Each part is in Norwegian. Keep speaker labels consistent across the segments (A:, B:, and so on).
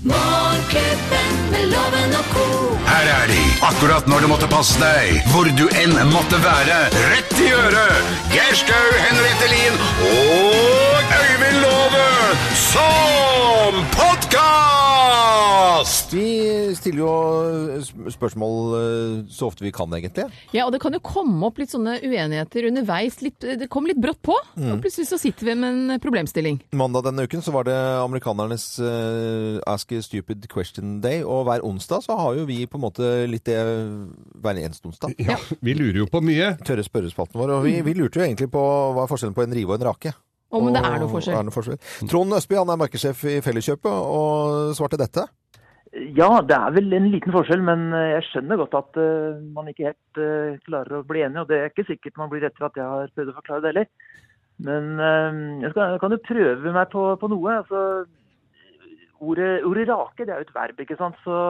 A: Morgenklubben med loven og ko.
B: Her er de, akkurat når du måtte passe deg, hvor du enn måtte være. Rett i øret! Geir Skau, Henriette Lien og Øyvind Låve som podkast!
C: Vi stiller jo sp- spørsmål eh, så ofte vi kan, egentlig.
D: Ja, og det kan jo komme opp litt sånne uenigheter underveis. Litt, det kom litt brått på, og plutselig så sitter vi med en problemstilling.
C: Mandag denne uken så var det amerikanernes eh, Ask a Stupid Question Day, og hver onsdag så har jo vi på en måte litt det eh, hver eneste onsdag.
E: Ja, vi lurer jo på mye.
C: Tørre spørrespalten vår, og vi, vi lurte jo egentlig på hva er forskjellen på en rive og en rake.
D: Om det
C: Og-
D: er noe forskjell.
C: Er det noe forskjell? Trond Østby han er markedssjef i Felleskjøpet og svarte dette.
F: Ja, det er vel en liten forskjell, men eh, jeg skjønner godt at eh, man ikke helt eh, klarer å bli enig. Og det er ikke sikkert man blir etter at jeg har prøvd å forklare det heller. Men eh, jeg, skal, jeg kan jo prøve meg på, på noe. Altså, ordet, ordet 'rake' det er jo et verb, ikke sant. Så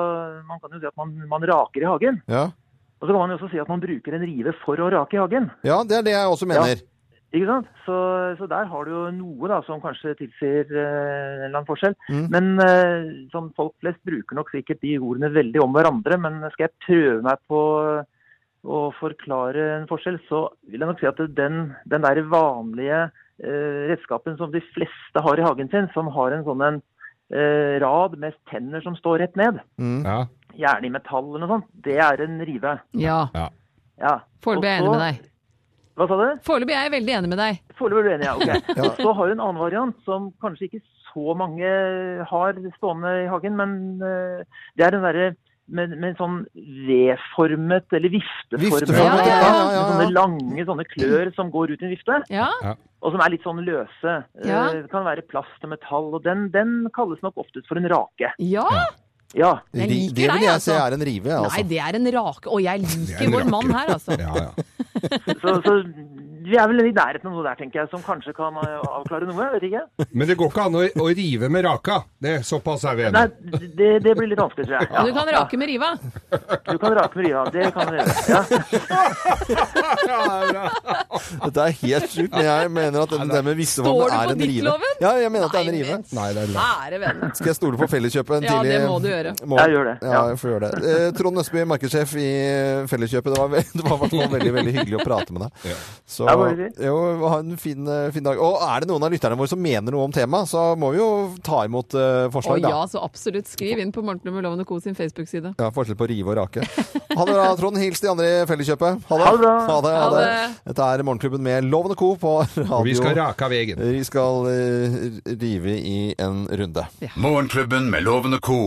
F: man kan jo si at man, man raker i hagen.
C: Ja.
F: Og så kan man jo også si at man bruker en rive for å rake i hagen.
C: ja, det er det jeg også mener.
F: Ikke sant? Så, så der har du jo noe da, som kanskje tilsier eh, en eller annen forskjell.
C: Mm.
F: Men eh, som folk flest bruker nok sikkert de ordene veldig om hverandre. Men skal jeg prøve meg på å forklare en forskjell, så vil jeg nok si at den, den der vanlige eh, redskapen som de fleste har i hagen sin, som har en sånn en eh, rad med tenner som står rett ned,
C: Mm.
E: Ja.
F: gjerne i metall eller noe sånt, det er en rive.
D: Ja.
F: Ja.
D: Foreløpig er jeg enig
F: Og så-
D: med deg.
F: Hva sa du?
D: Foreløpig er jeg veldig enig med deg.
F: Foreløpig er du enig, ja. ok.
C: Ja.
F: Og Så har du en annen variant som kanskje ikke så mange har stående i hagen, men eh, det er den derre med, med sånn V-formet eller vifteformet. Sånn
C: Vifteformet,
D: ja, ja, ja,
C: ja, ja.
F: Med sånne lange sånne klør som går ut i en vifte,
D: Ja.
F: og som er litt sånn løse. Eh,
D: Ja.
F: Det kan være plast og metall, og den, den kalles nok oftest for en rake.
D: ja.
F: Ja.
D: Jeg
C: Ri-
D: liker
C: det
D: deg,
C: vil jeg
D: altså.
C: se er en rive,
D: Nei,
C: altså.
D: det er en rake. Og jeg
E: er en
D: liker vår
E: rake.
D: mann her, altså.
E: Ja, ja.
F: Så, så vi er vel i nærheten av noe der, tenker jeg, som kanskje kan eh, avklare noe. vet ikke.
E: Men det går ikke an å, å rive med raka. Det, såpass er vi
F: Nei,
E: enige.
F: det, det blir litt vanskelig, tror jeg. Ja.
D: Men du kan rake med riva.
F: Du kan rake med riva. Det kan du gjøre. Ja.
C: Dette er helt sjukt, men jeg mener at det med visse
D: Står du
C: er
D: på
C: en
D: ditt,
C: rive.
D: Loven?
C: Ja, jeg mener at det er en
D: Nei,
C: rive.
E: Nei, det er langt.
D: Ære venner.
C: Skal jeg stole på Felleskjøpet en
D: Ja,
C: tidlig
D: det må du gjøre.
C: morgen?
F: Jeg gjør det,
C: Ja,
F: ja.
C: jeg får gjøre det. Eh, Trond Østby, markedssjef i Felleskjøpet. Det var, ve- det var i hvert fall veldig veldig hyggelig å prate med deg. Så
F: Ja, bare hyggelig.
C: jo, ha en fin, eh, fin dag. Og er det noen av lytterne våre som mener noe om temaet, så må vi jo ta imot eh,
D: Å
C: forslag,
D: ja,
C: da.
D: så absolutt. Skriv inn på Morgenklubben med Loven og Co sin Facebook-side.
C: Ja, Forskjell på rive og rake. Ha det bra, Trond. Hils de andre i Felleskjøpet. Ha det.
F: Ha det bra.
C: Ha det, ha
D: Ha
C: det. Dette er Morgenklubben med Loven og Co. på radio.
E: Og vi skal rake av vegen.
C: Vi skal eh, rive i en runde.
B: Morgenklubben med Loven og co.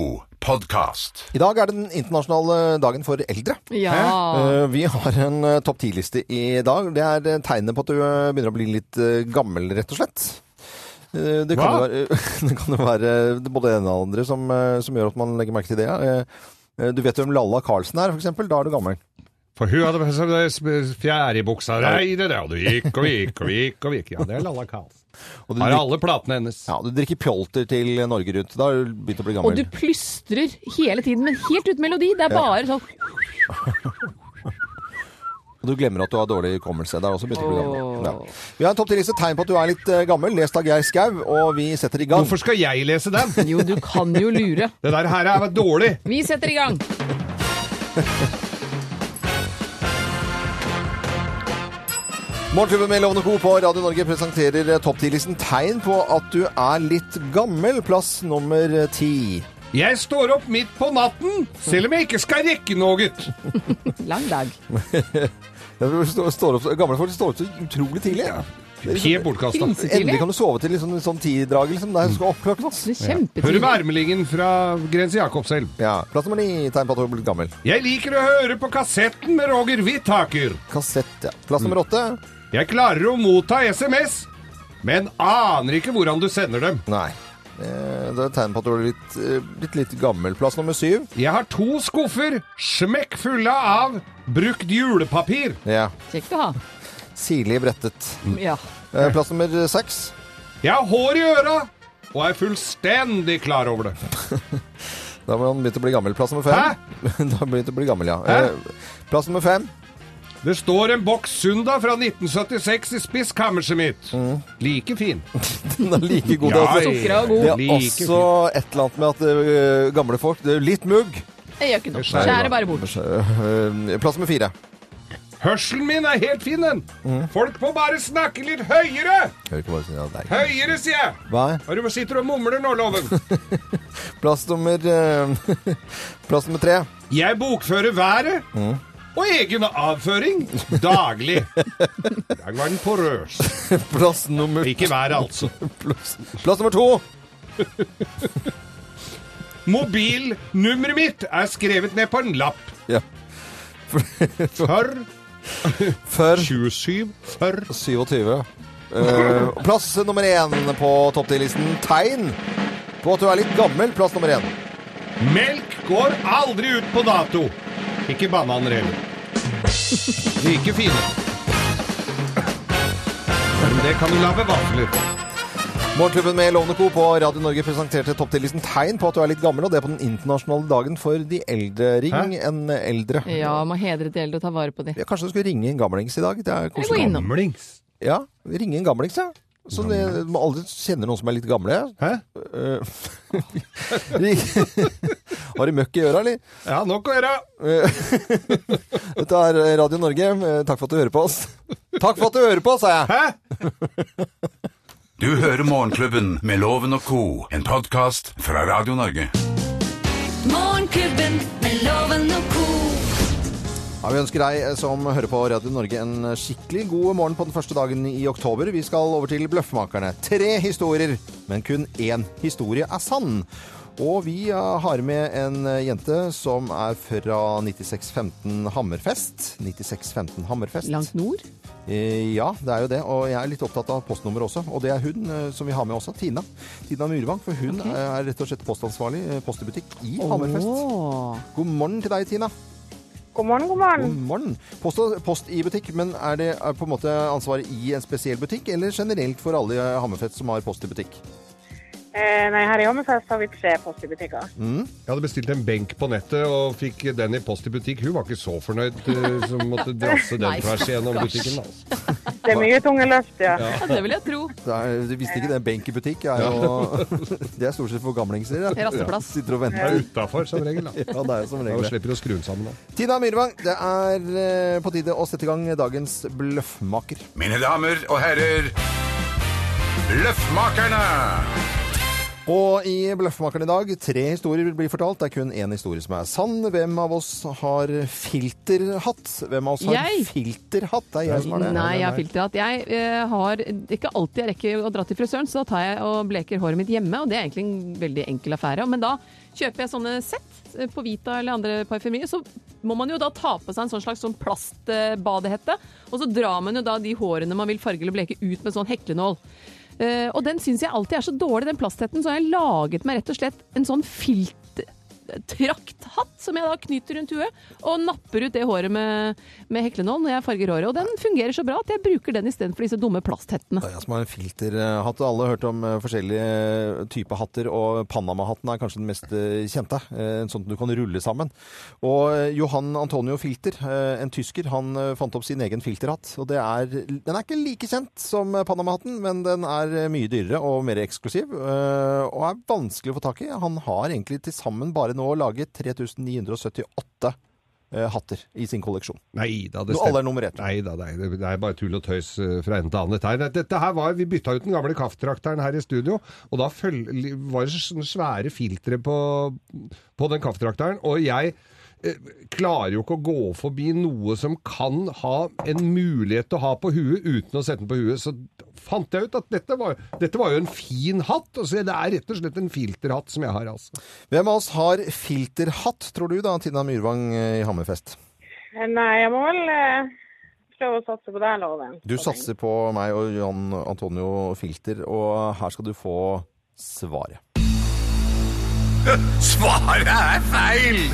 B: podkast.
C: I dag er den internasjonale dagen for eldre.
D: Ja.
C: Eh, Vi har en eh, topp 10-liste i dag. Det er eh, tegnet på at du eh, begynner å bli litt eh, gammel, rett og slett. Eh, Det kan, jo
E: Hva?
C: være, det kan jo være eh, både det ene og det andre som, eh, som gjør at man legger merke til det. Eh, eh, Du vet jo hvem Lalla Carlsen er, f.eks. Da er du gammel.
E: For hun hadde som det sp- fjær i buksa Nei, det der, og det gikk og gikk og gikk og gikk. Ja, det er Lalla Carlsen.
C: Og du,
E: Har
C: drik-
E: alle platene hennes.
C: ja, du drikker pjolter til Norge Rundt. Da har du begynt å bli
D: Og
C: gammel.
D: du plystrer hele tiden, men helt uten melodi. Det er bare sånn
C: Og du glemmer at du har dårlig hukommelse. Det er også begynt å bli gammel.
D: Åh.
C: Ja. Vi har en topp 10-liste tegn på at du er litt eh, gammel. Lest av Geir Skau, og vi setter i gang.
E: Hvorfor skal jeg lese den?
D: Jo, du kan jo lure.
E: Det der her er dårlig.
D: Vi setter i gang.
C: Morgenklubben med Lovende Co. på Radio Norge presenterer eh, topp 10-listen tegn på at du er litt gammel. Plass nummer eh, ti.
E: Jeg står opp midt på natten, selv om jeg ikke skal rekke noe.
D: Lang dag.
C: Ja, vi står- står opp så- Gamle folk står opp så utrolig tidlig.
E: Helt bortkasta.
C: Endelig
D: Krisetidlig.
C: kan du sove til liksom, sånn ti-draget. Liksom. Det er- du skal opp klokka åtte.
D: Det er
E: Hører
D: kjempetidlig.
E: med ermelingen fra Grense Jakobselv.
C: Ja. Plass nummer ni. Tegn på at du er blitt gammel.
E: Jeg liker å høre på kassetten med Roger Whittaker.
C: Kassett. Ja. Plass nummer åtte.
E: Jeg klarer å motta SMS, men aner ikke hvordan du sender dem.
C: Nei. Eh, Det er tegn på at du er litt, eh, blitt litt gammel. Plass nummer syv.
E: Jeg har to skuffer smekkfulle av brukt julepapir.
C: Ja.
D: Kjekt å ha.
C: Sirlig brettet.
D: Ja.
C: Eh, Plass nummer seks.
E: Jeg har hår i øra og er fullstendig klar over det.
C: Da har man begynt å bli gammel. Plass nummer
E: Hæ?
C: fem. Da har man begynt å bli gammel, ja.
E: Hæ?
C: Eh, Plass nummer fem.
E: Det står en boks Sunda fra 1976 i spiskammerset mitt. Like fin.
C: Den er like god.
E: Ja,
C: altså.
D: Sukker og god.
C: Det er
E: Like
C: også et eller annet med at øh, gamle folk det er Litt mugg.
D: Jeg gjør ikke noe.
E: Det skjærer
D: Skjærer bare bort.
C: Øh, plass med fire.
E: Hørselen min er helt fin, den. Folk må bare snakke litt høyere!
C: Jeg vil ikke bare si ja, nei.
E: Høyere, sier jeg!
C: Hva?
E: Og du sitter og mumler nå, Loven.
C: Plass nummer øh, Plass nummer tre.
E: Jeg bokfører været og egen avføring daglig. Der var den porøs.
C: Plass nummer,
E: Ikke været, altså.
C: plass, plass nummer to.
E: Mobilnummeret mitt er skrevet ned på en lapp.
C: Ja.
E: For
C: For
E: 27 for
C: 27. Eh, plass nummer én på topptillisten. Tegn på at du er litt gammel. Plass nummer én.
E: Melk går aldri ut på dato. Ikke bananer heller. Like fine. Men det kan du la bevafle.
C: Morgenklubben med Lovende Co. på Radio Norge presenterte topptillisten Tegn på at du er litt gammel, og det på den internasjonale dagen for de eldre. Ring en eldre.
D: Ja, må hedre de eldre og ta vare på de.
C: Ja, kanskje du skulle ringe en gamlings i dag? Det er
D: Eller gå
C: koselig.
D: innom.
E: Gamlings.
C: Ja, ringe en gamlings, ja. Så det, du må aldri kjenne noen som er litt gamle.
E: Hæ?
C: Eh, ring- Har du møkk i øra, eller?
E: Ja, nok å gjøre.
C: Dette er Radio Norge. Eh, Takk for at du hører på oss. Takk for at du hører på, sa jeg.
E: Hæ?
B: Du hører Morgenklubben med Loven og Co., en podkast fra Radio Norge.
A: Morgenklubben med Loven og co.
C: Ja, vi ønsker deg eh, som hører på Radio Norge en eh, skikkelig god morgen på den første dagen i oktober. Vi skal over til Bløffmakerne. Tre historier, men kun én historie er sann. Og vi eh, har med en eh, jente som er fra 9615 Hammerfest. 9615 Hammerfest.
D: Langt nord.
C: Eh, Ja, det er jo det. Og jeg er litt opptatt av postnummeret også. Og det er hun eh, som vi har med også, Tina. Tina Myrvang. For hun
D: Ok.
C: eh, er rett og slett postansvarlig eh, postebutikk i Hammerfest.
D: Åh.
C: God morgen til deg, Tina.
G: God morgen, god morgen.
C: God morgen. Post, post i butikk, men er det er på en måte ansvaret i en spesiell butikk, eller generelt for alle i Hammerfest som har post i butikk?
G: Eh, nei, her i Hammerfest har vi tre postibutikker.
E: Jeg hadde bestilt en benk på nettet og fikk den i post i butikk. Hun var ikke så fornøyd, eh, som måtte drasse
D: Nei,
E: den tvers igjennom
D: stakkars.
E: butikken. Altså.
G: Det er mye tunge løft, ja.
D: Ja, det vil jeg tro.
C: Det er, du visste ikke det, benk i butikk er jo Det er stort sett for gamlingser. da.
D: Rasteplass.
C: Sitter og
E: Det
C: venter.
E: er utafor, som regel. Da.
C: Ja, det er jo som
E: Ja,
C: regel
E: Og
C: det.
E: slipper å skru den sammen. Da.
C: Tina Myrvang, det er eh, på tide å sette i gang dagens bløffmaker.
B: Mine damer og herrer, Løffmakerne!
C: Og i Bløffmakeren i dag, tre historier blir fortalt. Det er kun én historie som er sann. Hvem av oss har filterhatt? Hvem av oss har
D: Jeg.
C: filterhatt? Det er jeg som har det.
D: Nei, jeg har filterhatt. Jeg eh, har det er ikke alltid jeg rekker å dra til frisøren, så da tar jeg og bleker håret mitt hjemme, og det er egentlig en veldig enkel affære. Men da kjøper jeg sånne sett eh, på Vita eller andre parfymerier, så må man jo da ta på seg en sånn slags sånn plastbadehette, og så drar man jo da de hårene man vil farge eller bleke ut med sånn heklenål. Eh, og den syns jeg alltid er så dårlig, den plasthetten, så har jeg laget meg rett og slett en sånn filter trakthatt som jeg da knyter rundt huet og napper ut det håret med, med heklenål når jeg farger håret. Og den fungerer så bra at jeg bruker den istedenfor disse dumme plasthettene.
C: Det er jeg som har en filterhatt. og Alle har hørt om eh, forskjellige eh, typer hatter, og Panama-hatten er kanskje den mest eh, kjente. eh, En sånn du kan rulle sammen. Og eh, Johan Antonio Filter, eh, en tysker, han eh, fant opp sin egen filterhatt. og det er, Den er ikke like kjent som eh, Panama-hatten, men den er eh, mye dyrere og mer eksklusiv. eh, Og er vanskelig å få tak i. Han har egentlig til sammen bare nå laget 3978 eh, hatter i sin kolleksjon.
E: Nei da, det
C: Nå alle er nummer ett.
E: Nei da, nei, det det er bare tull og tøys eh, fra ende til annet. Her, dette her var, vi bytta ut den gamle kaffetrakteren her i studio, og da føl, li- var det sånne svære filtre på, på den kaffetrakteren. Og jeg eh, klarer jo ikke å gå forbi noe som kan ha en mulighet til å ha på huet uten å sette den på huet. Så fant jeg ut at dette var, dette var jo en fin hatt. Og så det er rett og slett en filterhatt som jeg har, altså.
C: Hvem av oss har filterhatt, tror du da, Tina Myrvang eh, i Hammerfest?
G: Eh, Nei, jeg må vel eh, prøve å satse på deg, Loven.
C: Du satser på meg og Jan Antonio Filter, og her skal du få svaret.
B: Svaret er feil!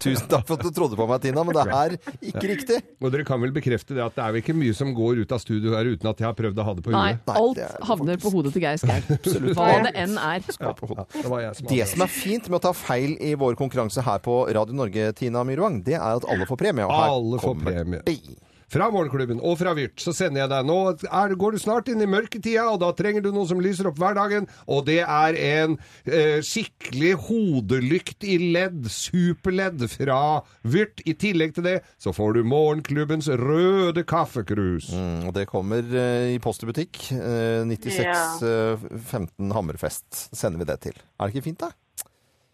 C: Tusen takk for at du trodde på meg, Tina, men det er ikke riktig.
E: Og dere kan vel bekrefte det at det er vel ikke mye som går ut av studio her uten at jeg har prøvd å ha det på
D: Nei,
E: huet?
D: alt
C: det er det
D: havner på hodet til Geir Skau. Hva det enn er.
E: Ja, det var jeg som
C: Det
E: hadde
C: som er fint med å ta feil i vår konkurranse her på Radio Norge, Tina Myrvang, det er at alle får premie. Og her
E: Alle får
C: kommer
E: premie.
C: de.
E: Fra morgenklubben og fra Vyrt så sender jeg deg nå er, Går du snart inn i mørketida, og da trenger du noe som lyser opp hverdagen, og det er en eh, skikkelig hodelykt i ledd, superledd, fra Vyrt. I tillegg til det så får du morgenklubbens røde kaffekrus.
C: Mm, og det kommer eh, i Post i butikk. Eh, 9615 Hammerfest sender vi det til. Er det ikke fint, da?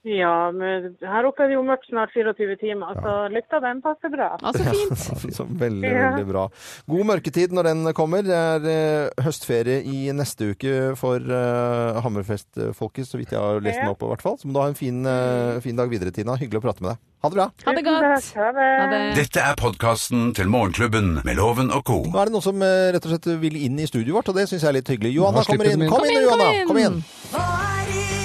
G: Ja, men her oppe er det jo mørkt snart 24 timer, så lykta den passer bra.
D: Ja, så fint.
C: Så veldig,
G: Ja.
C: veldig bra. God mørketid når den kommer. Det er eh, høstferie i neste uke for eh, Hammerfest-folket, så vidt jeg har lest den opp i hvert fall. Så må du ha en fin, eh, fin dag videre, Tina. Hyggelig å prate med deg. Ha det bra!
D: Ha det godt.
G: Ha det.
D: Ha det.
B: Dette er podkasten til Morgenklubben med Loven og co.
C: Nå er det noen som eh, rett og slett vil inn i studioet vårt, og det syns jeg er litt hyggelig. Johanna
E: Nå slipper
C: kommer inn!
E: de inn.
C: Kom inn, Johanna! Kom inn!
A: Hva er inn?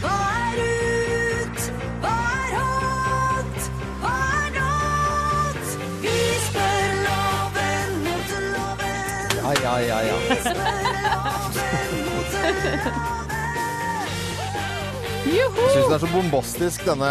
A: Hva er ut? Hva er hot? Hva er not? Vi spør loven mot loven.
C: Ja, ja, ja, ja.
A: Vi spør loven mot loven.
C: Jeg syns
D: Juhu!
C: det er så bombastisk, denne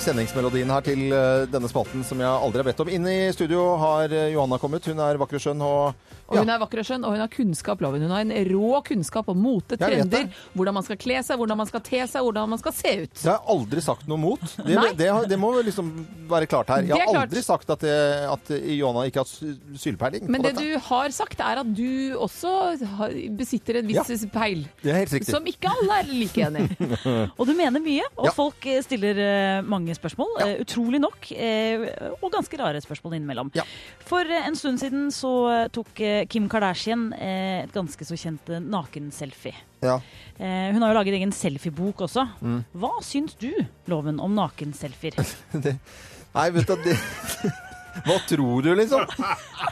C: kjenningsmelodien her til eh, denne spalten som jeg aldri har bedt om. Inn i studio har eh, Johanna kommet. Hun er vakker og skjønn og
D: Og hun er vakker og skjønn, og hun har kunnskap, Loven. Hun har en rå kunnskap om mote,
C: Jeg vet
D: trender,
C: det.
D: hvordan man skal kle seg, hvordan man skal te seg, hvordan man skal se ut.
C: Det har jeg aldri sagt noe mot. Det,
D: Nei.
C: det, har- det må vel liksom være klart her. Jeg
D: Det er
C: har
D: klart.
C: aldri sagt at, det, at Johanna ikke har sy- sylpeiling. på
D: Men det
C: dette.
D: du har sagt, er at du også har, besitter en
C: Ja.
D: viss peil,
C: Det er helt riktig.
D: som ikke alle er like enig i.
H: Og du mener mye, og
C: Ja.
H: folk eh, stiller eh, mange spørsmål. eh, Utrolig nok, eh, og ganske rare spørsmål innimellom.
C: Ja.
H: For eh, en stund siden så eh, tok eh, Kim Kardashian eh, et ganske så kjent eh, nakenselfie.
C: Ja.
H: Eh, Hun har jo laget egen selfiebok også.
C: Mm.
H: Hva syns du, Loven, om nakenselfier?
C: Nei, vet du det... Hva tror du, liksom?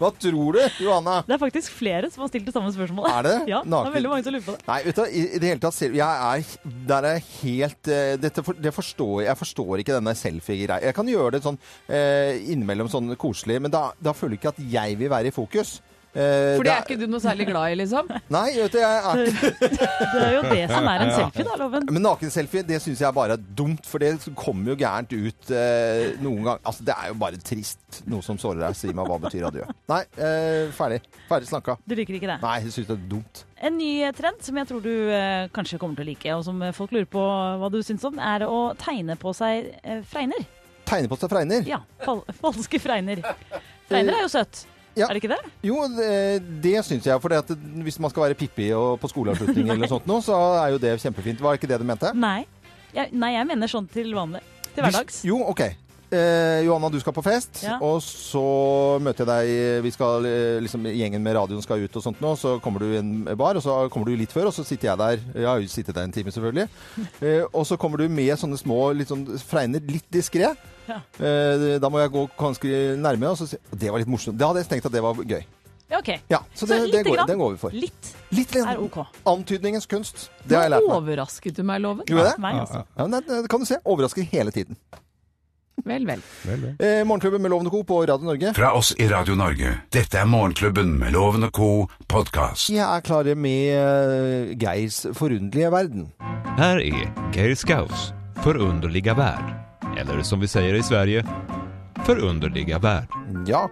C: Hva tror du, Johanna?
H: Det er faktisk flere som har stilt det samme spørsmålet.
C: Er det?
H: Ja, det
C: Naken-
H: er veldig mange som lurer på det.
C: Nei, vet du, hva, i, i det hele tatt selv, jeg er, der er jeg helt eh, dette for, det forstår, Jeg forstår ikke denne selfie-greia. Jeg kan gjøre det sånn eh, innimellom sånn koselig, men da, da føler jeg ikke at jeg vil være i fokus. Eh,
D: For det er
C: det er-
D: ikke du noe særlig glad i, liksom.
C: Nei, vet du, jeg er ikke
H: Det er jo det som er en selfie, da, Loven.
C: Men nakenselfie, det syns jeg bare er dumt, for det kommer jo gærent ut eh, noen gang. Altså, det er jo bare trist. Noe som sårer deg. Si meg hva betyr adjø. Nei, eh, ferdig. Ferdig slanka.
H: Du liker ikke det?
C: Nei, jeg syns det er dumt.
H: En ny trend som jeg tror du eh, kanskje kommer til å like, og som eh, folk lurer på hva du syns om, er å tegne på seg eh, fregner.
C: Tegne på seg fregner.
H: Ja, fal falske fregner. Fregner er jo søtt.
C: Ja.
H: Er det ikke det?
C: Jo, det, det syns jeg. For hvis man skal være pippi og på skoleavslutning eller sånt noe, så er jo det kjempefint. Var det ikke det du mente?
H: Nei. Jeg, nei, jeg mener sånn til vanlig. Til hverdags.
C: Hvis- Jo, OK. Eh, Johanna, du skal på fest,
H: Ja.
C: og så møter jeg deg Vi skal, eh, liksom, Gjengen med radioen skal ut og sånt nå. Så kommer du i en bar, og så kommer du litt før, og så sitter jeg der. Jeg har jo sittet der en time, selvfølgelig. Eh, og så kommer du med sånne små litt sånn fregner, litt diskré. Eh, da må jeg gå ganske nærme, og så si og Det var litt morsomt. Da hadde jeg tenkt at det var gøy.
H: Ja, ok.
C: Ja, så det, det
H: lite
C: går,
H: grann.
C: den går vi for.
H: Litt
C: Litt, litt
H: er OK.
C: Antydningens kunst. Det har jeg
D: Nå
C: lært meg.
D: overrasket du meg, Loven.
C: Gjorde jeg det?
H: Meg, altså.
C: Ja, men det det kan du se. Overrasker hele tiden.
D: Vel, vel.
C: Eh, Morgenklubben med Lovende Co. på Radio Norge.
B: Fra oss i Radio Norge. Dette er Morgenklubben med Loven og co. podkast.
C: Jeg er klare med eh, Geirs forunderlige verden.
I: Här är Geir Skaus förunderliga värld. Eller som vi säger i Sverige, förunderliga värld.
C: Ja,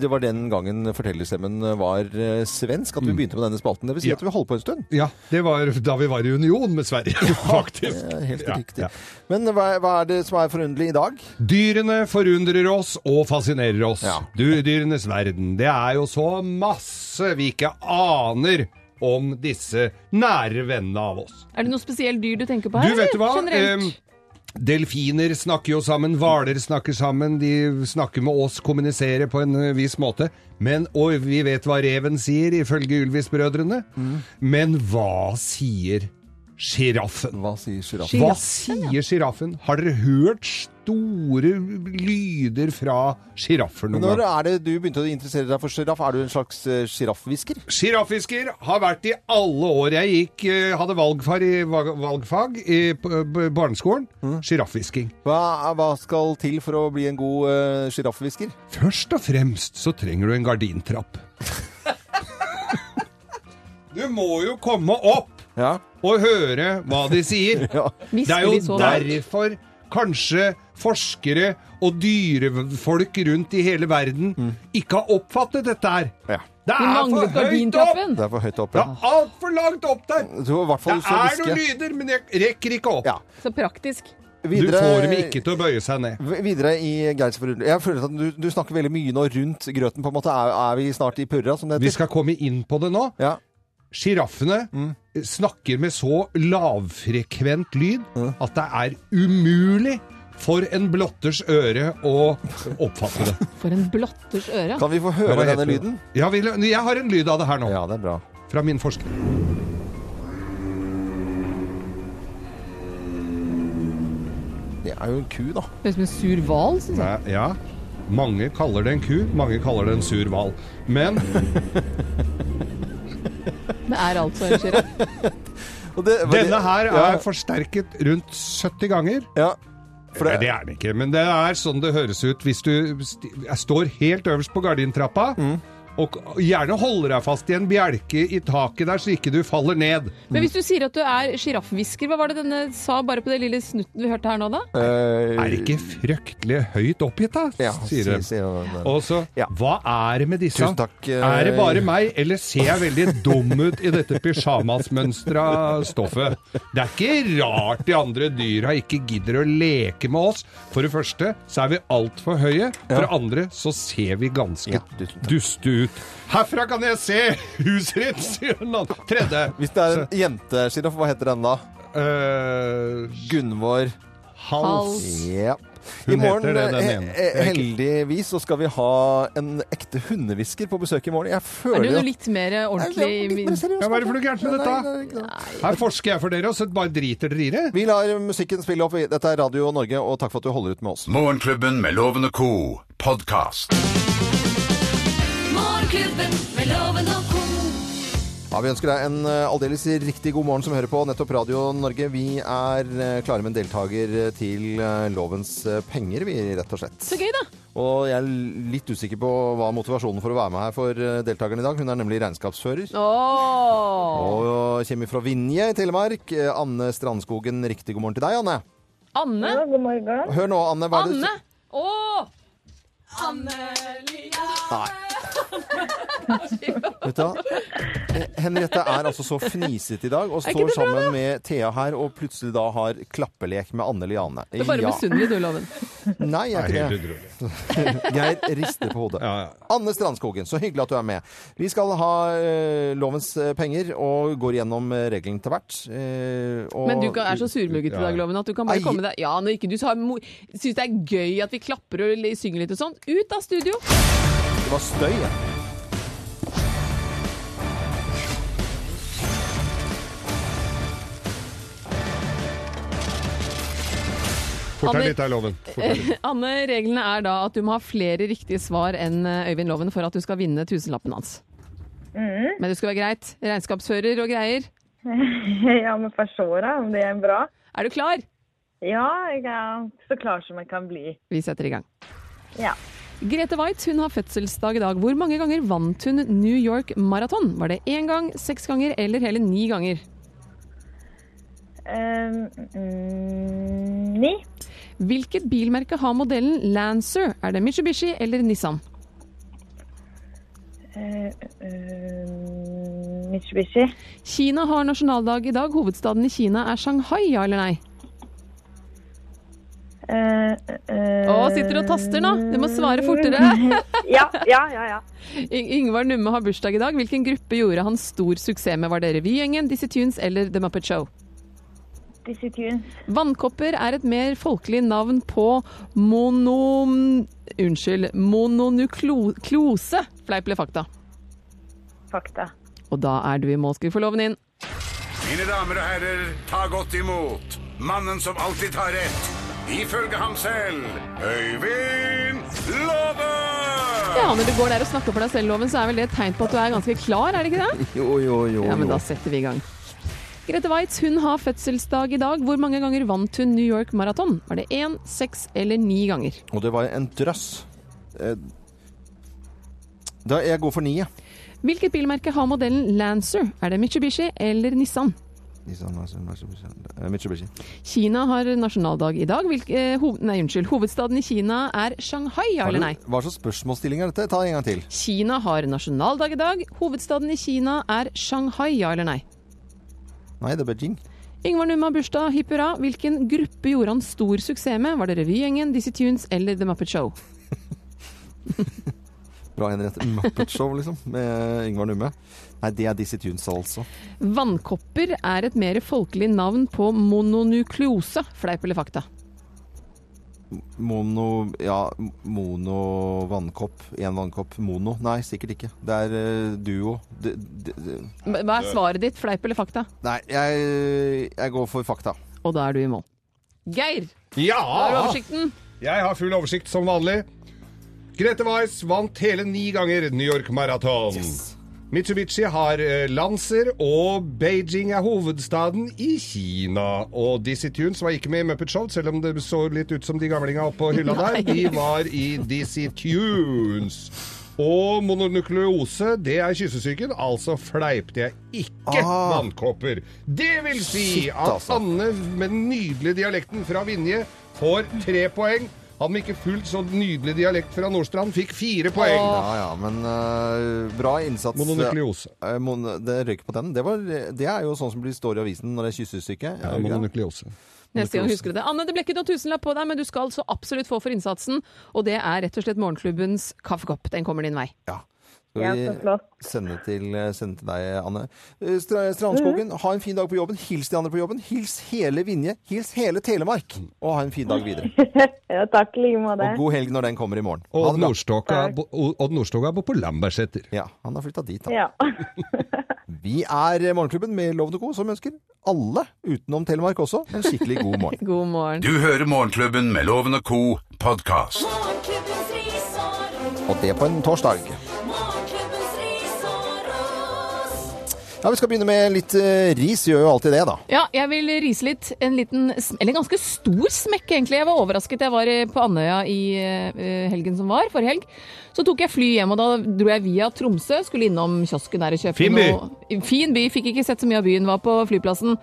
C: det var den gangen fortellerstemmen var eh, svensk at vi begynte med denne spalten. Det vil si
E: Mm. Ja.
C: at vi holdt på en stund.
E: Ja, det var da vi var i union med Sverige, faktisk.
C: Det er Helt
E: Ja,
C: riktig.
E: ja.
C: Men hva, hva er det som er forunderlig i dag?
E: Dyrene forundrer oss og fascinerer oss.
C: Ja.
E: Du, dyrenes verden. Det er jo så masse vi ikke aner om disse nære vennene av oss.
D: Er det noe spesielt dyr du tenker på
E: Du,
D: her?
E: vet du
D: eller?
E: hva?
D: Generelt?
E: Em, delfiner snakker jo sammen, hvaler snakker sammen, de snakker med oss, kommuniserer på en ø, viss måte. Men, og vi vet hva reven sier, ifølge Ylvis-brødrene. Men hva sier sjiraffen?
C: Hva sier sjiraffen?
E: Hva sier sjiraffen? Har dere hørt store lyder fra sjiraffer noen
C: Når
E: gang.
C: er det du begynte å interessere deg for sjiraff? Er du en slags eh, sjiraffhvisker?
E: Sjirafffisker har vært i alle år. Jeg gikk, eh, hadde valgfag i, valg- valgfag i på- på barneskolen. Sjiraffisking.
C: Hva, hva skal til for å bli en god eh, sjiraffhvisker?
E: Først og fremst så trenger du en gardintrapp. du må jo komme opp
C: ja.
E: og høre hva de sier. Det er
D: Hvisker de
E: jo
D: så langt?
E: derfor kanskje forskere og dyrefolk rundt i hele verden ikke har oppfattet dette her.
C: Ja.
E: Det
D: Vi
E: er
D: manglet
E: for høyt opp!
D: gardintrappen!
C: Det er for høyt opp.
E: Det
C: Ja.
E: er altfor langt opp der!
C: Jeg tror i hvert
E: Det
C: fall du så
E: er noen
C: hviske.
E: lyder, men jeg rekker ikke opp.
C: Ja.
D: Så praktisk.
E: Du
C: Videre-
E: får dem ikke til å bøye seg ned.
C: V- Videre i Geirs forundring. Jeg føler at du, du snakker veldig mye nå rundt grøten, på en måte. Er, er vi snart i purra, som det
E: Vi
C: heter?
E: skal komme inn på det nå.
C: Ja.
E: Sjiraffene snakker med så lavfrekvent lyd at det er umulig for en blotters øre å oppfatte det.
D: For en blotters øre.
C: Kan vi få høre
E: Hva heter
C: denne
E: det?
C: lyden?
E: Ja, vi, jeg har en lyd av det her nå,
C: Ja, det er bra.
E: fra min forsker.
C: Det er jo en ku, da.
D: Høres ut som en sur hval, syns jeg.
E: Nei, ja. Mange kaller det en ku, mange kaller det en sur hval. Men
D: Det er altså en sjiraff.
C: Og det- var
E: denne
C: det-
E: her
C: ja,
E: er forsterket rundt 70 ganger.
C: ja. For
E: Nei,
C: det,
E: det er den ikke, men det er sånn det høres ut hvis du sti- står helt øverst på gardintrappa.
C: Mm.
E: Og gjerne holder deg fast i en bjelke i taket der, så ikke du faller ned.
D: Men hvis du sier at du er sjiraffhvisker, hva var det denne sa bare på det lille snutten vi hørte her nå, da?
C: Eh,
E: Er ikke fryktelig høyt oppgitt, da?
C: ja,
E: sier de.
C: sier han der.
E: Og så
C: Ja.
E: Hva er det med disse?
C: Tusen takk, eh,
E: Er det bare meg, eller ser jeg veldig dum ut i dette pysjamasmønstra stoffet? Det er ikke rart de andre dyra ikke gidder å leke med oss. For det første så er vi altfor høye. For det andre så ser vi ganske
C: Ja, tusen takk.
E: duste ut. Herfra kan jeg se huset ditt, sier den andre. Tredje.
C: Hvis det er en jentesjiraff, hva heter den da?
E: Eh,
C: Gunvor
E: hals.
C: Ja.
E: Hun
C: I morgen,
E: heter det, den
C: eh,
E: ene.
C: eh, heldigvis, så skal vi ha en ekte hundehvisker på besøk i morgen. Jeg føler
D: Er det
C: jo-
D: noe litt mer
C: Nei, det er litt
D: ordentlig
C: mer seriøst,
E: Ja, hva er det for noe gærent med
C: Nei,
E: dette?
C: det er ikke noe.
E: Her forsker jeg for dere, og så bare driter dere i det.
C: Vi lar musikken spille opp. Dette er Radio Norge, og takk for at du holder ut med oss.
B: Morgenklubben med Loven og Co. Podcast.
A: Morgenklubben med Loven og co.
C: Ja, Vi ønsker deg en eh, aldeles riktig god morgen som hører på nettopp Radio Norge. Vi er eh, klare med en deltaker til eh, lovens eh, penger, vi, rett og slett.
D: Så gøy, da!
C: Og jeg er litt usikker på hva motivasjonen for å være med her for eh, deltakeren i dag. Hun er nemlig regnskapsfører.
D: Åh.
C: Og eh, kommer fra Vinje i Telemark. Eh, Anne Strandskogen, riktig god morgen til deg, Anne.
D: Anne?
G: God morgen.
C: Hør nå, Anne. Hva er det du-
D: Anne! Åh!
C: Vet du hva? Eh, Henriette er altså så fnisete i dag og
D: ikke
C: står
D: det bra,
C: sammen med Thea her og plutselig da har klappelek med Anne Liane.
D: Du er bare misunnelig, du, Loven.
C: Nei, jeg
E: Det er
C: er
E: helt
C: ikke det.
E: utrolig.
C: Geir rister på hodet.
E: Ja, ja.
C: Anne Strandskogen, så hyggelig at du er med. Vi skal ha eh, lovens eh, penger og går gjennom eh, reglene til hvert. eh, og-
D: Men du kan- er så surmugget i dag, Loven, at du kan bare
C: Ei.
D: komme deg Ja, når ikke du har mo- syns det er gøy at vi klapper og li- synger litt og sånn, ut av studio!
C: Det var støy. ja.
E: Fort
D: Anne-
E: deg litt her, Loven. Fort deg litt.
D: Anne, reglene er da at du må ha flere riktige svar enn eh, Øyvind Loven for at du skal vinne tusenlappen hans. Men det skal være greit. Regnskapsfører og greier.
G: Ja, men forstår jeg om det er bra.
D: Er du klar?
G: Ja, jeg er så klar som jeg kan bli.
D: Vi setter i gang.
G: Ja.
D: Grete Waitz hun har fødselsdag i dag. Hvor mange ganger vant hun New York Marathon? Var det én gang, seks ganger eller hele ni ganger?
G: Um, mm, ni.
D: Hvilket bilmerke har modellen Lancer? Er det Mitsubishi eller Nissan?
G: Eh, eh, Mitsubishi.
D: Kina har nasjonaldag i dag. Hovedstaden i Kina er Shanghai, ja eller nei?
G: Uh,
D: Å, sitter du og taster nå? Du må svare fortere.
G: Ja, ja, ja. ja.
D: Y- Yngvar Numme har bursdag i dag. Hvilken gruppe gjorde han stor suksess med? Var det Revygjengen, Dizzie Tunes eller The Muppet Show?
G: Dizzie Tunes.
D: Vannkopper er et mer folkelig navn på mono... Unnskyld, mononukleose. Fleip eller fakta?
G: Fakta.
D: Og da er du i mål, skal vi få loven inn.
B: Mine damer og herrer, ta godt imot mannen som alltid tar rett, ifølge ham selv Øyvind Låve!
D: Ja, når du går der og snakker for deg selv, Loven, så er vel det et tegn på at du er ganske klar, er det ikke det?
C: Jo, jo, jo.
D: Ja, men
C: jo.
D: da setter vi i gang. Grete Waitz hun har fødselsdag i dag. Hvor mange ganger vant hun New York Marathon? Var det én, seks eller ni ganger?
C: Og det var en drøss. Eh, Da jeg går for ni, jeg.
D: Hvilket bilmerke har modellen Lancer? Er det Mitsubishi eller Nissan?
C: Nissan, Nissan, Mitsubishi. Eh, Mitsubishi.
D: Kina har nasjonaldag i dag. Hvilk, eh, hov, nei, unnskyld. Hovedstaden i Kina er Shanghai, ja eller nei?
C: Hva slags spørsmålsstilling er dette? Ta en gang til.
D: Kina har nasjonaldag i dag. Hovedstaden i Kina er Shanghai, ja eller nei?
C: Nei, det er Beijing.
D: Yngvar Numma har bursdag, hipp hurra. Hvilken gruppe gjorde han stor suksess med? Var det Revygjengen, Dizzie Tunes eller The Muppet Show?
C: Bra, Henriette. Muppet Show, liksom. Med Yngvar Numme. Nei, det er Dizzie Tunes, altså.
D: Vannkopper er et mer folkelig navn på mononukleose. Fleip eller fakta?
C: Mono Ja, mono vannkopp. Én vannkopp. Mono. Nei, sikkert ikke. Det er eh, duo. D d d
D: Hva er svaret ditt? Fleip eller fakta?
C: nei, jeg, jeg går for fakta.
D: Og da er du i mål. Geir, har du
E: Ja!
D: oversikten?
E: Jeg har full oversikt som vanlig. Grete Weiss vant hele ni ganger New York Marathon. Mitsubishi har eh, Lancer, og Beijing er hovedstaden i Kina. Og Dizzie Tunes var ikke med i Muppet Show, selv om det så litt ut som de gamlinga oppå hylla der. De var i Dizzie Tunes. Og mononukleose, det er kyssesyken, altså fleipte jeg ikke
C: Ah.
E: vannkopper. Det vil si
C: Shit,
E: at
C: altså.
E: Anne med den nydelige dialekten fra Vinje får tre poeng. Han med ikke fullt så nydelig dialekt fra Nordstrand fikk fire poeng.
C: Ja ja, men eh, bra innsats.
E: Mononukleose.
C: Eh, mon- det røyk på den. Det, var, det er jo sånn som blir står i avisen når det er kyssesyke. Er
E: Ja,
C: det ikke det?
E: mononukleose.
D: Neste gang husker du det. Anne, det ble ikke noen tusenlapp på deg, men du skal så absolutt få for innsatsen. Og det er rett og slett morgenklubbens kaffekopp. Den kommer din vei.
C: Ja.
G: Ja,
C: Skal vi
G: så flott.
C: sende til, sende til deg, Anne. Eh, Stra- Strandskogen,
G: Mm.
C: ha en fin dag på jobben. Hils de andre på jobben. Hils hele Vinje. Hils hele Telemark. Og ha en fin dag videre.
G: Ja, takk i like måte.
C: Og god helg når den kommer i morgen. Ha
E: Odd
C: det bra.
E: Nordstoga, Odd Nordstoga bor på Lambertseter.
C: Ja, han har flytta dit, da.
G: Ja.
C: Vi er Morgenklubben med Lovende Co, som ønsker alle, utenom Telemark også, en skikkelig god morgen.
D: God morgen.
B: Du hører Morgenklubben med Loven og Co. podkast.
A: Morgenklubbens risår,
C: Og det på en torsdag.
A: morgenklubbens risår oss.
C: Ja, Vi skal begynne med litt eh, ris. Gjør jo alltid det, da.
D: Ja, jeg vil rise litt. En liten, sm- eller en ganske stor smekk, egentlig. Jeg var overrasket. Jeg var eh, på Andøya i eh, helgen som var, forrige helg. Så tok jeg fly hjem, og da dro jeg via Tromsø. Skulle innom kiosken der og kjøpe
E: Fin by.
D: noe. Fin by. Fikk ikke sett så mye av byen, var på flyplassen.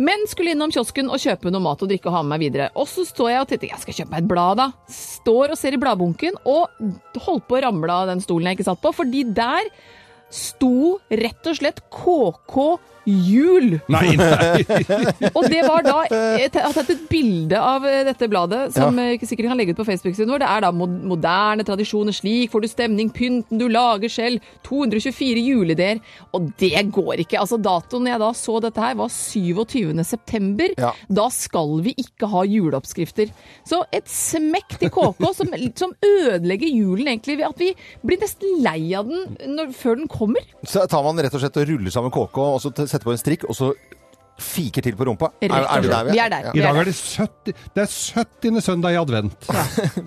D: Men skulle innom kiosken og kjøpe noe mat og drikke og ha med meg videre. Og så står jeg og tenkte jeg skal kjøpe meg et blad, da. Står og ser i bladbunken og holdt på å ramle av den stolen jeg ikke satt på, fordi der sto rett og slett KK Jul.
E: Nei, nei.
D: Og det var da Jeg har tatt et bilde av eh, dette bladet, som eh, ikke sikkert kan legge ut på Facebook-siden vår. Det er da mod- moderne tradisjoner. Slik får du stemning, pynten du lager selv. 224 juleideer. Og det går ikke. Altså, datoen jeg da så dette her, var 27. september.
C: Ja.
D: Da skal vi ikke ha juleoppskrifter. Så et smekk til KK som, som ødelegger julen, egentlig. Ved at vi blir nesten lei av den når, før den kommer.
C: Så tar man rett og slett og ruller sammen KK, og så t- setter på en strikk, og så fiker til på rumpa.
D: Rett og slett. Vi er der.
C: Ja.
E: I dag er det 70, det er 70. søndag i advent.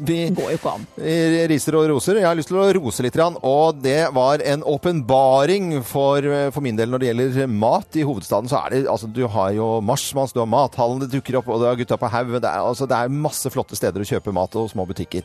C: Vi,
D: Går jo ikke an.
C: Riser og roser. Jeg har lyst til å rose litt, grann, og det var en åpenbaring for, for min del når det gjelder mat i hovedstaden. Så er det, altså, du har jo Marsmanns, du har Mathallen, det dukker opp, og du har Gutta på haugen. Det, er- altså, det er masse flotte steder å kjøpe mat og små butikker.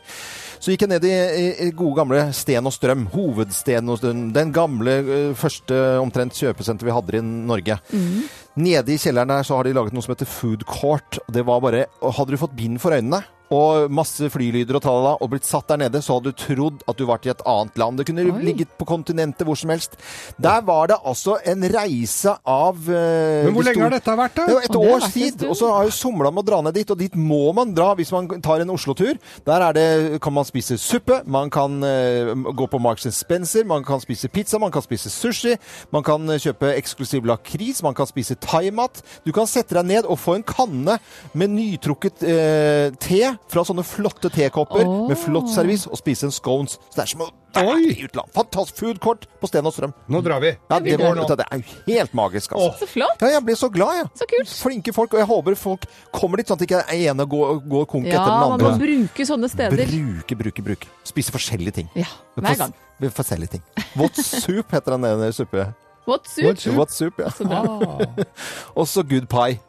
C: Så gikk jeg ned i, i, i gode gamle Sten og Strøm, hovedsteden og Strøm. Den gamle eh, første omtrent kjøpesenter vi hadde i Norge.
D: Mhm.
C: Nede i kjelleren der så har de laget noe som heter food court. Det var bare og Hadde du fått bind for øynene og masse flylyder og tralala og blitt satt der nede, så hadde du trodd at du var til et annet land. Det kunne
D: Oi.
C: ligget på kontinentet hvor som helst. Der var det altså en reise av eh,
E: Men
C: de
E: hvor lenge
C: store-
E: har dette vært,
C: det er
E: da?
C: jo et
D: Og det har
C: års
D: vært en
C: tid,
D: stund.
C: og så har jo somla med å dra ned dit, og dit må man dra hvis man tar en Oslo-tur. Der er det, kan man spise suppe, man kan eh, gå på Marks Spencer, man kan spise pizza, man kan spise sushi, man kan eh, kjøpe eksklusiv lakris, man kan spise thaimat. Du kan sette deg ned og få en kanne med nytrukket eh, te fra sånne flotte tekopper
D: Åh.
C: med flott servis og spise en scones. Så det er som å være
E: Oi.
C: i utlandet. Fantastisk foodkort på Sten og Strøm.
E: Nå drar vi.
C: Ja, det, var,
E: går nå.
C: dette er jo helt magisk, altså.
D: Så flott!
C: Ja, jeg ble så glad, jeg.
D: Så kult.
C: Flinke folk, og jeg håper folk kommer dit, sånn at det ikke er ene går, går konk
D: Ja,
C: etter
D: man må
C: den andre.
D: bruke sånne steder.
C: Bruke, bruke, bruke. Spise forskjellige ting.
D: Ja, hver gang.
C: For- Forskjellige ting. What soup heter den ene suppe.
D: What soup?
C: What Ah. soup, ja.
D: Så bra.
C: Og så good pie.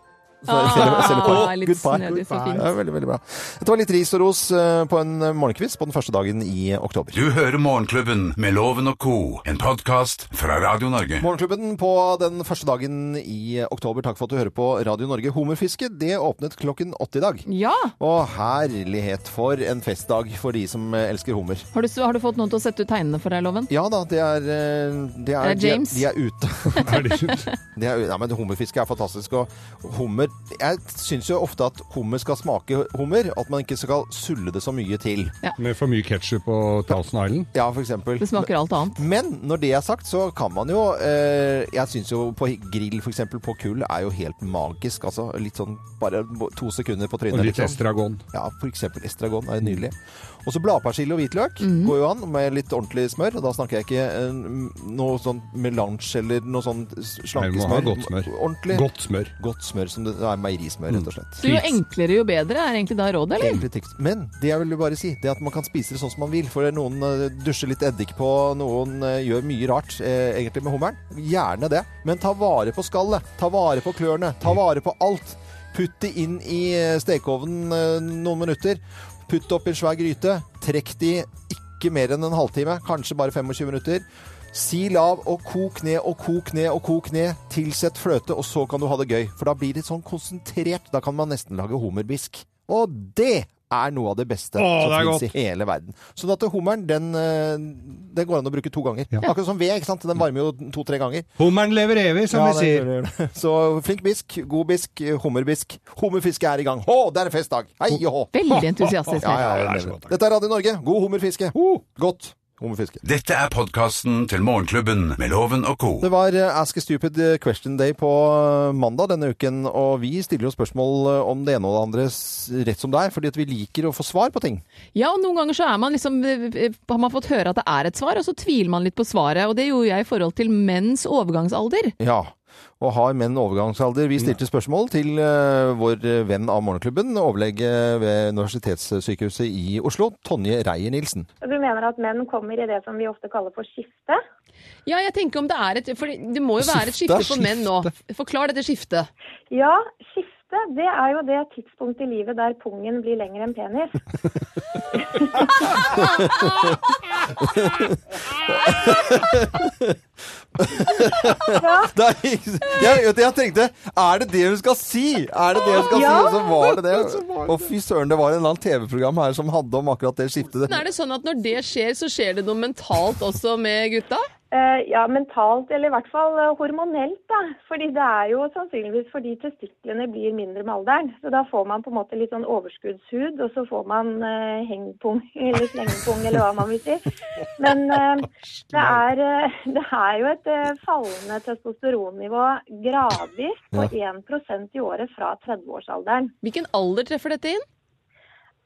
C: Så-
D: Ah,
C: selv- selv-
D: det er
C: good
D: litt
C: pie.
D: snedig, så fint.
C: Ja, veldig, veldig bra. Dette var litt ris og ros eh, på en eh, morgenkviss på den første dagen i oktober.
B: Du hører Morgenklubben med Loven og Co. En podkast fra Radio Norge.
C: Morgenklubben på den første dagen i oktober. Takk for at du hører på Radio Norge. Hummerfiske det åpnet klokken åtte i dag.
D: Ja!
C: Å herlighet, for en festdag for de som eh, elsker hummer.
D: Har du, har du fått noen til å sette ut tegnene for deg, Loven?
C: Ja da, det er eh, Det
D: Er det
C: de
D: James?
C: De er ute.
E: Er det slutt?
C: De er, u- ja, men Hummerfiske er fantastisk. Og hummer Jeg syns jo ofte at hummer skal smake hummer. At man ikke skal sulle det så mye til.
E: Med for mye ketsjup og Thousand Island.
C: Ja, for eksempel.
D: Det smaker alt annet.
C: Men når det er sagt, så kan man jo eh, Jeg syns jo på grill, for eksempel, på kull, er jo helt magisk. Altså litt sånn bare to sekunder på
E: Og
C: trynet. liksom.
E: litt estragon.
C: Ja, for eksempel estragon er jo nydelig. Og så bladpersille og hvitløk går jo an med litt ordentlig smør. Og da snakker jeg ikke eh, noe sånn melange eller noe sånn
E: Nei,
C: slanke
E: vi må ha
C: smør.
E: godt smør.
C: Ordentlig godt.
E: Godt smør.
C: smør som det er meierismør, rett og slett.
D: Så jo enklere, jo bedre, er egentlig da rådet, eller?
C: Egentlig tips. Men det jeg vil bare si, det er at man kan spise det sånn som man vil. For noen eh, dusjer litt eddik på, noen eh, gjør mye rart eh, egentlig med hummeren. Gjerne det. Men ta vare på skallet. Ta vare på klørne. Ta vare på alt. Putt det inn i eh, stekeovnen eh, noen minutter. Putt det opp i en svær gryte. Trekk det i ikke mer enn en halvtime, kanskje bare 25 minutter. Sil av og kok ned og kok ned og kok ned. Tilsett fløte, og så kan du ha det gøy. For da blir det sånn konsentrert. Da kan man nesten lage hummerbisk. Og det er noe av det beste
E: Åh, det er
C: som fins i hele verden. Sånn at hummeren, den, eh, den går an å bruke to ganger. Akkurat som ved, ikke sant. Den varmer jo to-tre ganger.
E: Hummeren lever evig, som
C: Ja,
E: vi
C: det
E: sier.
C: gjør det. Så flink bisk, god bisk, hummerbisk. Hummerfiske er i gang. Hå, det er en festdag! Hei og hå!
D: Veldig entusiastisk.
C: Ja, ja,
E: det er så
C: ja.
E: godt.
C: Dette er Radio Norge. God hummerfiske. Godt hummerfiske.
B: Dette er podkasten til Morgenklubben med Loven og Co.
C: Det var eh, Ask a Stupid Question Day på eh, mandag denne uken, og vi stiller jo spørsmål eh, om det ene og det andre s- rett som det er, fordi at vi liker å få svar på ting.
D: Ja, og noen ganger så er man liksom, eh, har man fått høre at det er et svar, og så tviler man litt på svaret. Og det gjorde jeg i forhold til menns overgangsalder.
C: Ja. Og har menn overgangsalder? Vi stilte spørsmål til eh, vår eh, venn av Morgenklubben, overlege ved Universitetssykehuset i Oslo, Tonje Reier-Nilsen.
J: Du mener at menn kommer i det som vi ofte kaller for skifte?
D: Ja, jeg tenker om det er et For det må jo være et
C: Skifte,
D: skifte for menn nå. Forklar dette skiftet.
J: Ja, skifte det er jo det tidspunktet i livet der pungen blir lengre enn penis.
C: Nei, jeg, jeg tenkte Er det det hun skal si? Er det det hun skal si? Og så var det det. Og fy søren, det var en eller annen TV-program her som handlet om akkurat det skiftet.
D: Men Er det sånn at når det skjer, så skjer det noe mentalt også med gutta?
J: Eh, ja, mentalt, eller i hvert fall eh, hormonelt, da. Fordi det er jo sannsynligvis fordi testiklene blir mindre med alderen. Så da får man på en måte litt sånn overskuddshud, og så får man eh, hengpung, eller slengepung, eller hva man vil si. Men eh, det, er, eh, det er jo et eh, fallende testosteronnivå gradvis på 1 i året fra 30-årsalderen.
D: Hvilken alder treffer dette inn?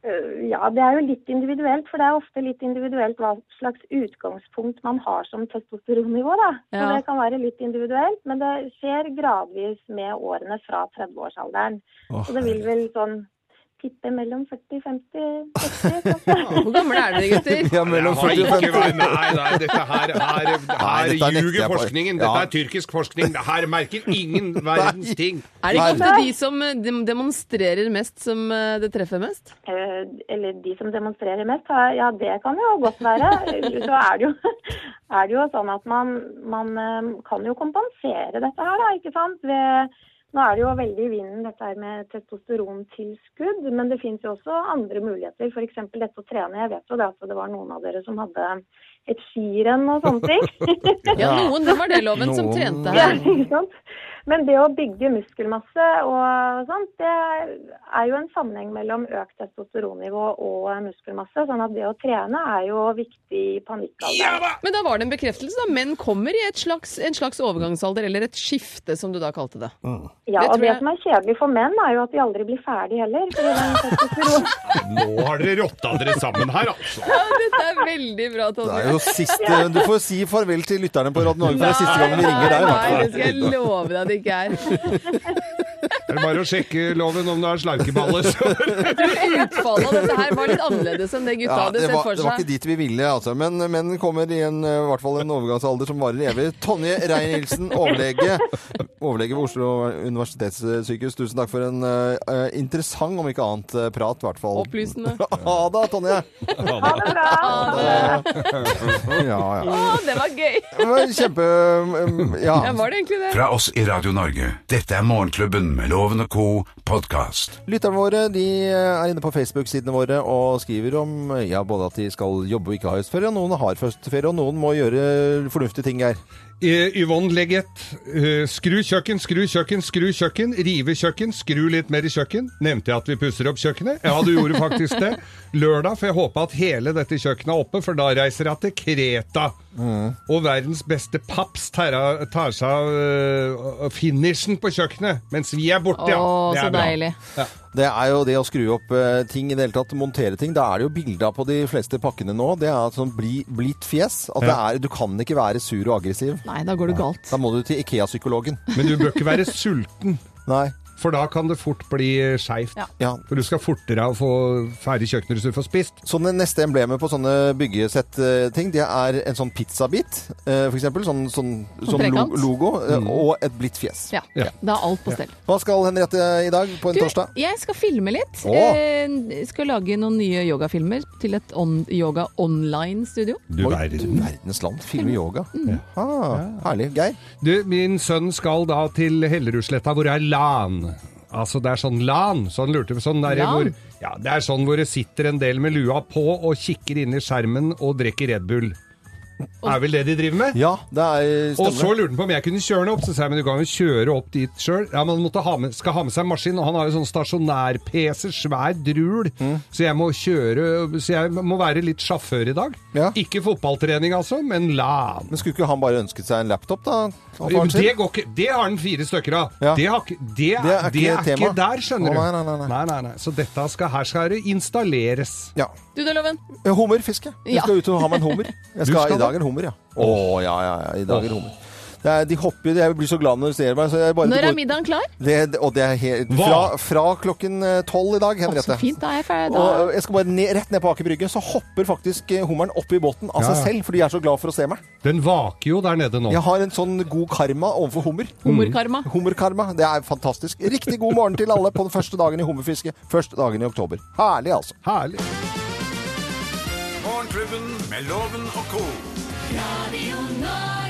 J: Øh, Ja, det er jo litt individuelt, for det er ofte litt individuelt hva slags utgangspunkt man har som testosteronnivå. da. Så
D: Ja.
J: Det kan være litt individuelt, men det skjer gradvis med årene fra 30-årsalderen. Så det vil vel sånn tippe mellom 40, 50, 60 kanskje.
D: Hvor gamle er dere, gutter?
C: Ja, mellom
E: Jeg har
C: 40 og
E: ikke
C: 50
E: vært- Nei, nei, dette her, her,
C: Nei,
E: her
C: dette nekter jeg
E: ljuger
C: på.
E: forskningen.
C: Ja.
E: Dette er tyrkisk forskning. Det Her merker ingen verdens ting.
D: Er det ikke ofte de som eh, dem- demonstrerer mest, som eh, det treffer mest?
J: Eh, Eller de som demonstrerer mest, har- ja det kan jo godt være. Så er det jo, er det jo sånn at man, man eh, kan jo kompensere dette her, da, ikke sant. Ved, nå er det jo veldig i vinden dette her med testosterontilskudd, men det finnes jo også andre muligheter. F.eks. dette å trene. Jeg vet jo det at det var noen av dere som hadde et skirenn og sånne ting.
D: Ja, noen, det var det loven som
C: Noen-
D: trente
J: Ja,
D: her.
J: ikke sant? Men det å bygge muskelmasse og sånt, det er jo en sammenheng mellom økt testosteronnivå og muskelmasse. Sånn at det å trene er jo viktig i panikkalderen.
D: Men da var det en bekreftelse, da. Menn kommer i et slags, en slags overgangsalder, eller et skifte, som du da kalte det.
J: Ja,
D: Det
J: og
D: tror
J: det
D: jeg-
J: som er kjedelig for menn, er jo at de aldri blir ferdig heller. Fordi den testosteron...
I: Nå har dere rotta dere sammen her, altså.
D: Ja, dette er veldig bra,
C: Det
D: Tonje.
C: er jo siste Du får si farvel til lytterne på Radio Norge, for det er siste gang vi ringer deg. i hvert
D: Nei,
C: fall.
D: det skal jeg love deg at det ikke er.
E: Det er bare å sjekke loven om du har slankeballer. så-
D: Utfallet av dette her var litt annerledes enn det gutta
C: Ja,
D: hadde
C: det,
D: sett
C: var,
D: for
C: det var
D: seg.
C: ikke dit vi ville, altså. Men menn kommer i en, eh, i hvert fall en overgangsalder som varer evig. Tonje Rein-Nilsen, overlege, overlege ved Oslo universitetssykehus. Tusen takk for en eh, eh, interessant, om ikke annet, eh, prat, i hvert fall.
D: Opplysende.
C: Ha det, Tonje!
J: Ha det bra!
C: Ja, ja.
D: Å, det var gøy!
C: Det var Kjempe... eh, Ja.
D: Ja, var det egentlig det?
B: Fra oss i Radio Norge. Dette er Morgenklubben med Loven og co. podkast.
C: Lytterne våre de eh, er inne på Facebook-sidene våre og skriver om eh, ja, både at de skal jobbe og ikke ha høstferie, og noen har høstferie, og noen må gjøre fornuftige ting her.
E: Eh, Yvonne Legget. eh, Skru kjøkken, skru kjøkken, skru kjøkken. Rive kjøkken, skru litt mer i kjøkken. Nevnte jeg at vi pusser opp kjøkkenet? Ja, du gjorde faktisk det. Lørdag får jeg håpe at hele dette kjøkkenet er oppe, for da reiser jeg til Kreta. Og verdens beste paps tar av- tar seg av eh, finishen på kjøkkenet, mens vi er
D: Å,
E: borte, ja. Det
D: så
E: er bra.
D: deilig.
C: Det er jo det å skru opp eh, ting i det hele tatt, montere ting. Da er det jo bilder på de fleste pakkene nå. Det er sånn bli, blitt fjes. At det er, du kan ikke være sur og aggressiv.
D: Nei, da går det galt.
C: Da må du til Ikea-psykologen.
E: Men du bør ikke være sulten,
C: Nei.
E: for da kan det fort bli skeivt.
H: Ja.
C: Ja.
E: For du skal fortere å få ferdig kjøkkenet så du får spist.
C: Så det neste emblemet på sånne byggesett-ting, det er en sånn pizzabit, eh, for eksempel. Sånn, sånn, som lo-
D: trekant.
C: logo. eh, Og et blitt fjes.
D: Ja.
E: Ja.
D: Da er alt på stell.
C: Hva skal Henriette i dag på en
D: Du,
C: torsdag?
D: jeg skal filme litt.
C: Å.
D: Eh, skal lage noen nye yogafilmer til et on yoga online-studio.
E: Du
C: Oi,
E: verden.
C: du verdens land. Filme yoga.
D: Mm.
C: Ah, herlig. Geir?
E: Du, min sønn skal da til Hellerudsletta, hvor er LAN? Altså, det er sånn LAN. Sånn lurte vi sånn der,
D: LAN?
E: hvor, ja, det er sånn hvor det sitter en del med lua på og kikker inn i skjermen og drikker Red Bull. Er vel det de driver med?
C: Ja, det er
E: Og så lurte han på om jeg kunne kjøre den opp. Så sa jeg men du kan jo kjøre opp dit sjøl. Ja, men han måtte ha med, skal ha med seg en maskin, og han har jo sånn stasjonær-PC, svær drul.
C: Mm.
E: Så jeg må kjøre Så jeg må være litt sjåfør i dag.
C: Ja.
E: Ikke fotballtrening, altså, men LAN.
C: Men skulle ikke han bare ønsket seg en laptop, da? av
E: Jo,
C: faren sin?
E: Det, går ikke, det har den fire stykker av.
C: Ja.
E: Det, har, ikke- det, det er,
C: ikke
E: ikke,
C: tema.
E: der, skjønner
C: Å, nei,
E: du.
C: nei, nei, nei.
E: Så dette skal, her skal det installeres.
C: Ja.
D: Du da, Loven?
C: Hummerfiske. Jeg
D: Ja.
C: skal ut og ha meg en hummer. Jeg skal,
E: skal
C: I dag en hummer, ja. Å, ja, ja, ja. I dag en hummer. Det er, de hopper Jeg blir så glad når de ser meg. Så jeg bare,
D: Når er middagen klar?
C: det, og det er helt, fra,
E: Hva?
C: fra klokken eh, tolv i
D: Å,
C: dag, Henriette.
D: så fint. Da er jeg ferdig. Da.
C: Og eh, jeg skal bare ned, rett ned på Aker Brygge, så hopper faktisk eh, hummeren opp i båten av
E: Ja,
C: seg
E: ja.
C: selv, for de er så glad for å se meg.
E: Den vaker jo der nede nå.
C: Jeg har en sånn god karma overfor hummer.
D: Hummerkarma.
C: Hummerkarma. Det er fantastisk. Riktig god morgen til alle på den første dagen i hummerfiske. Første dagen i oktober. Herlig, altså.
E: Herlig.
B: Morgenklubben med Loven og co.
A: Radio Norge.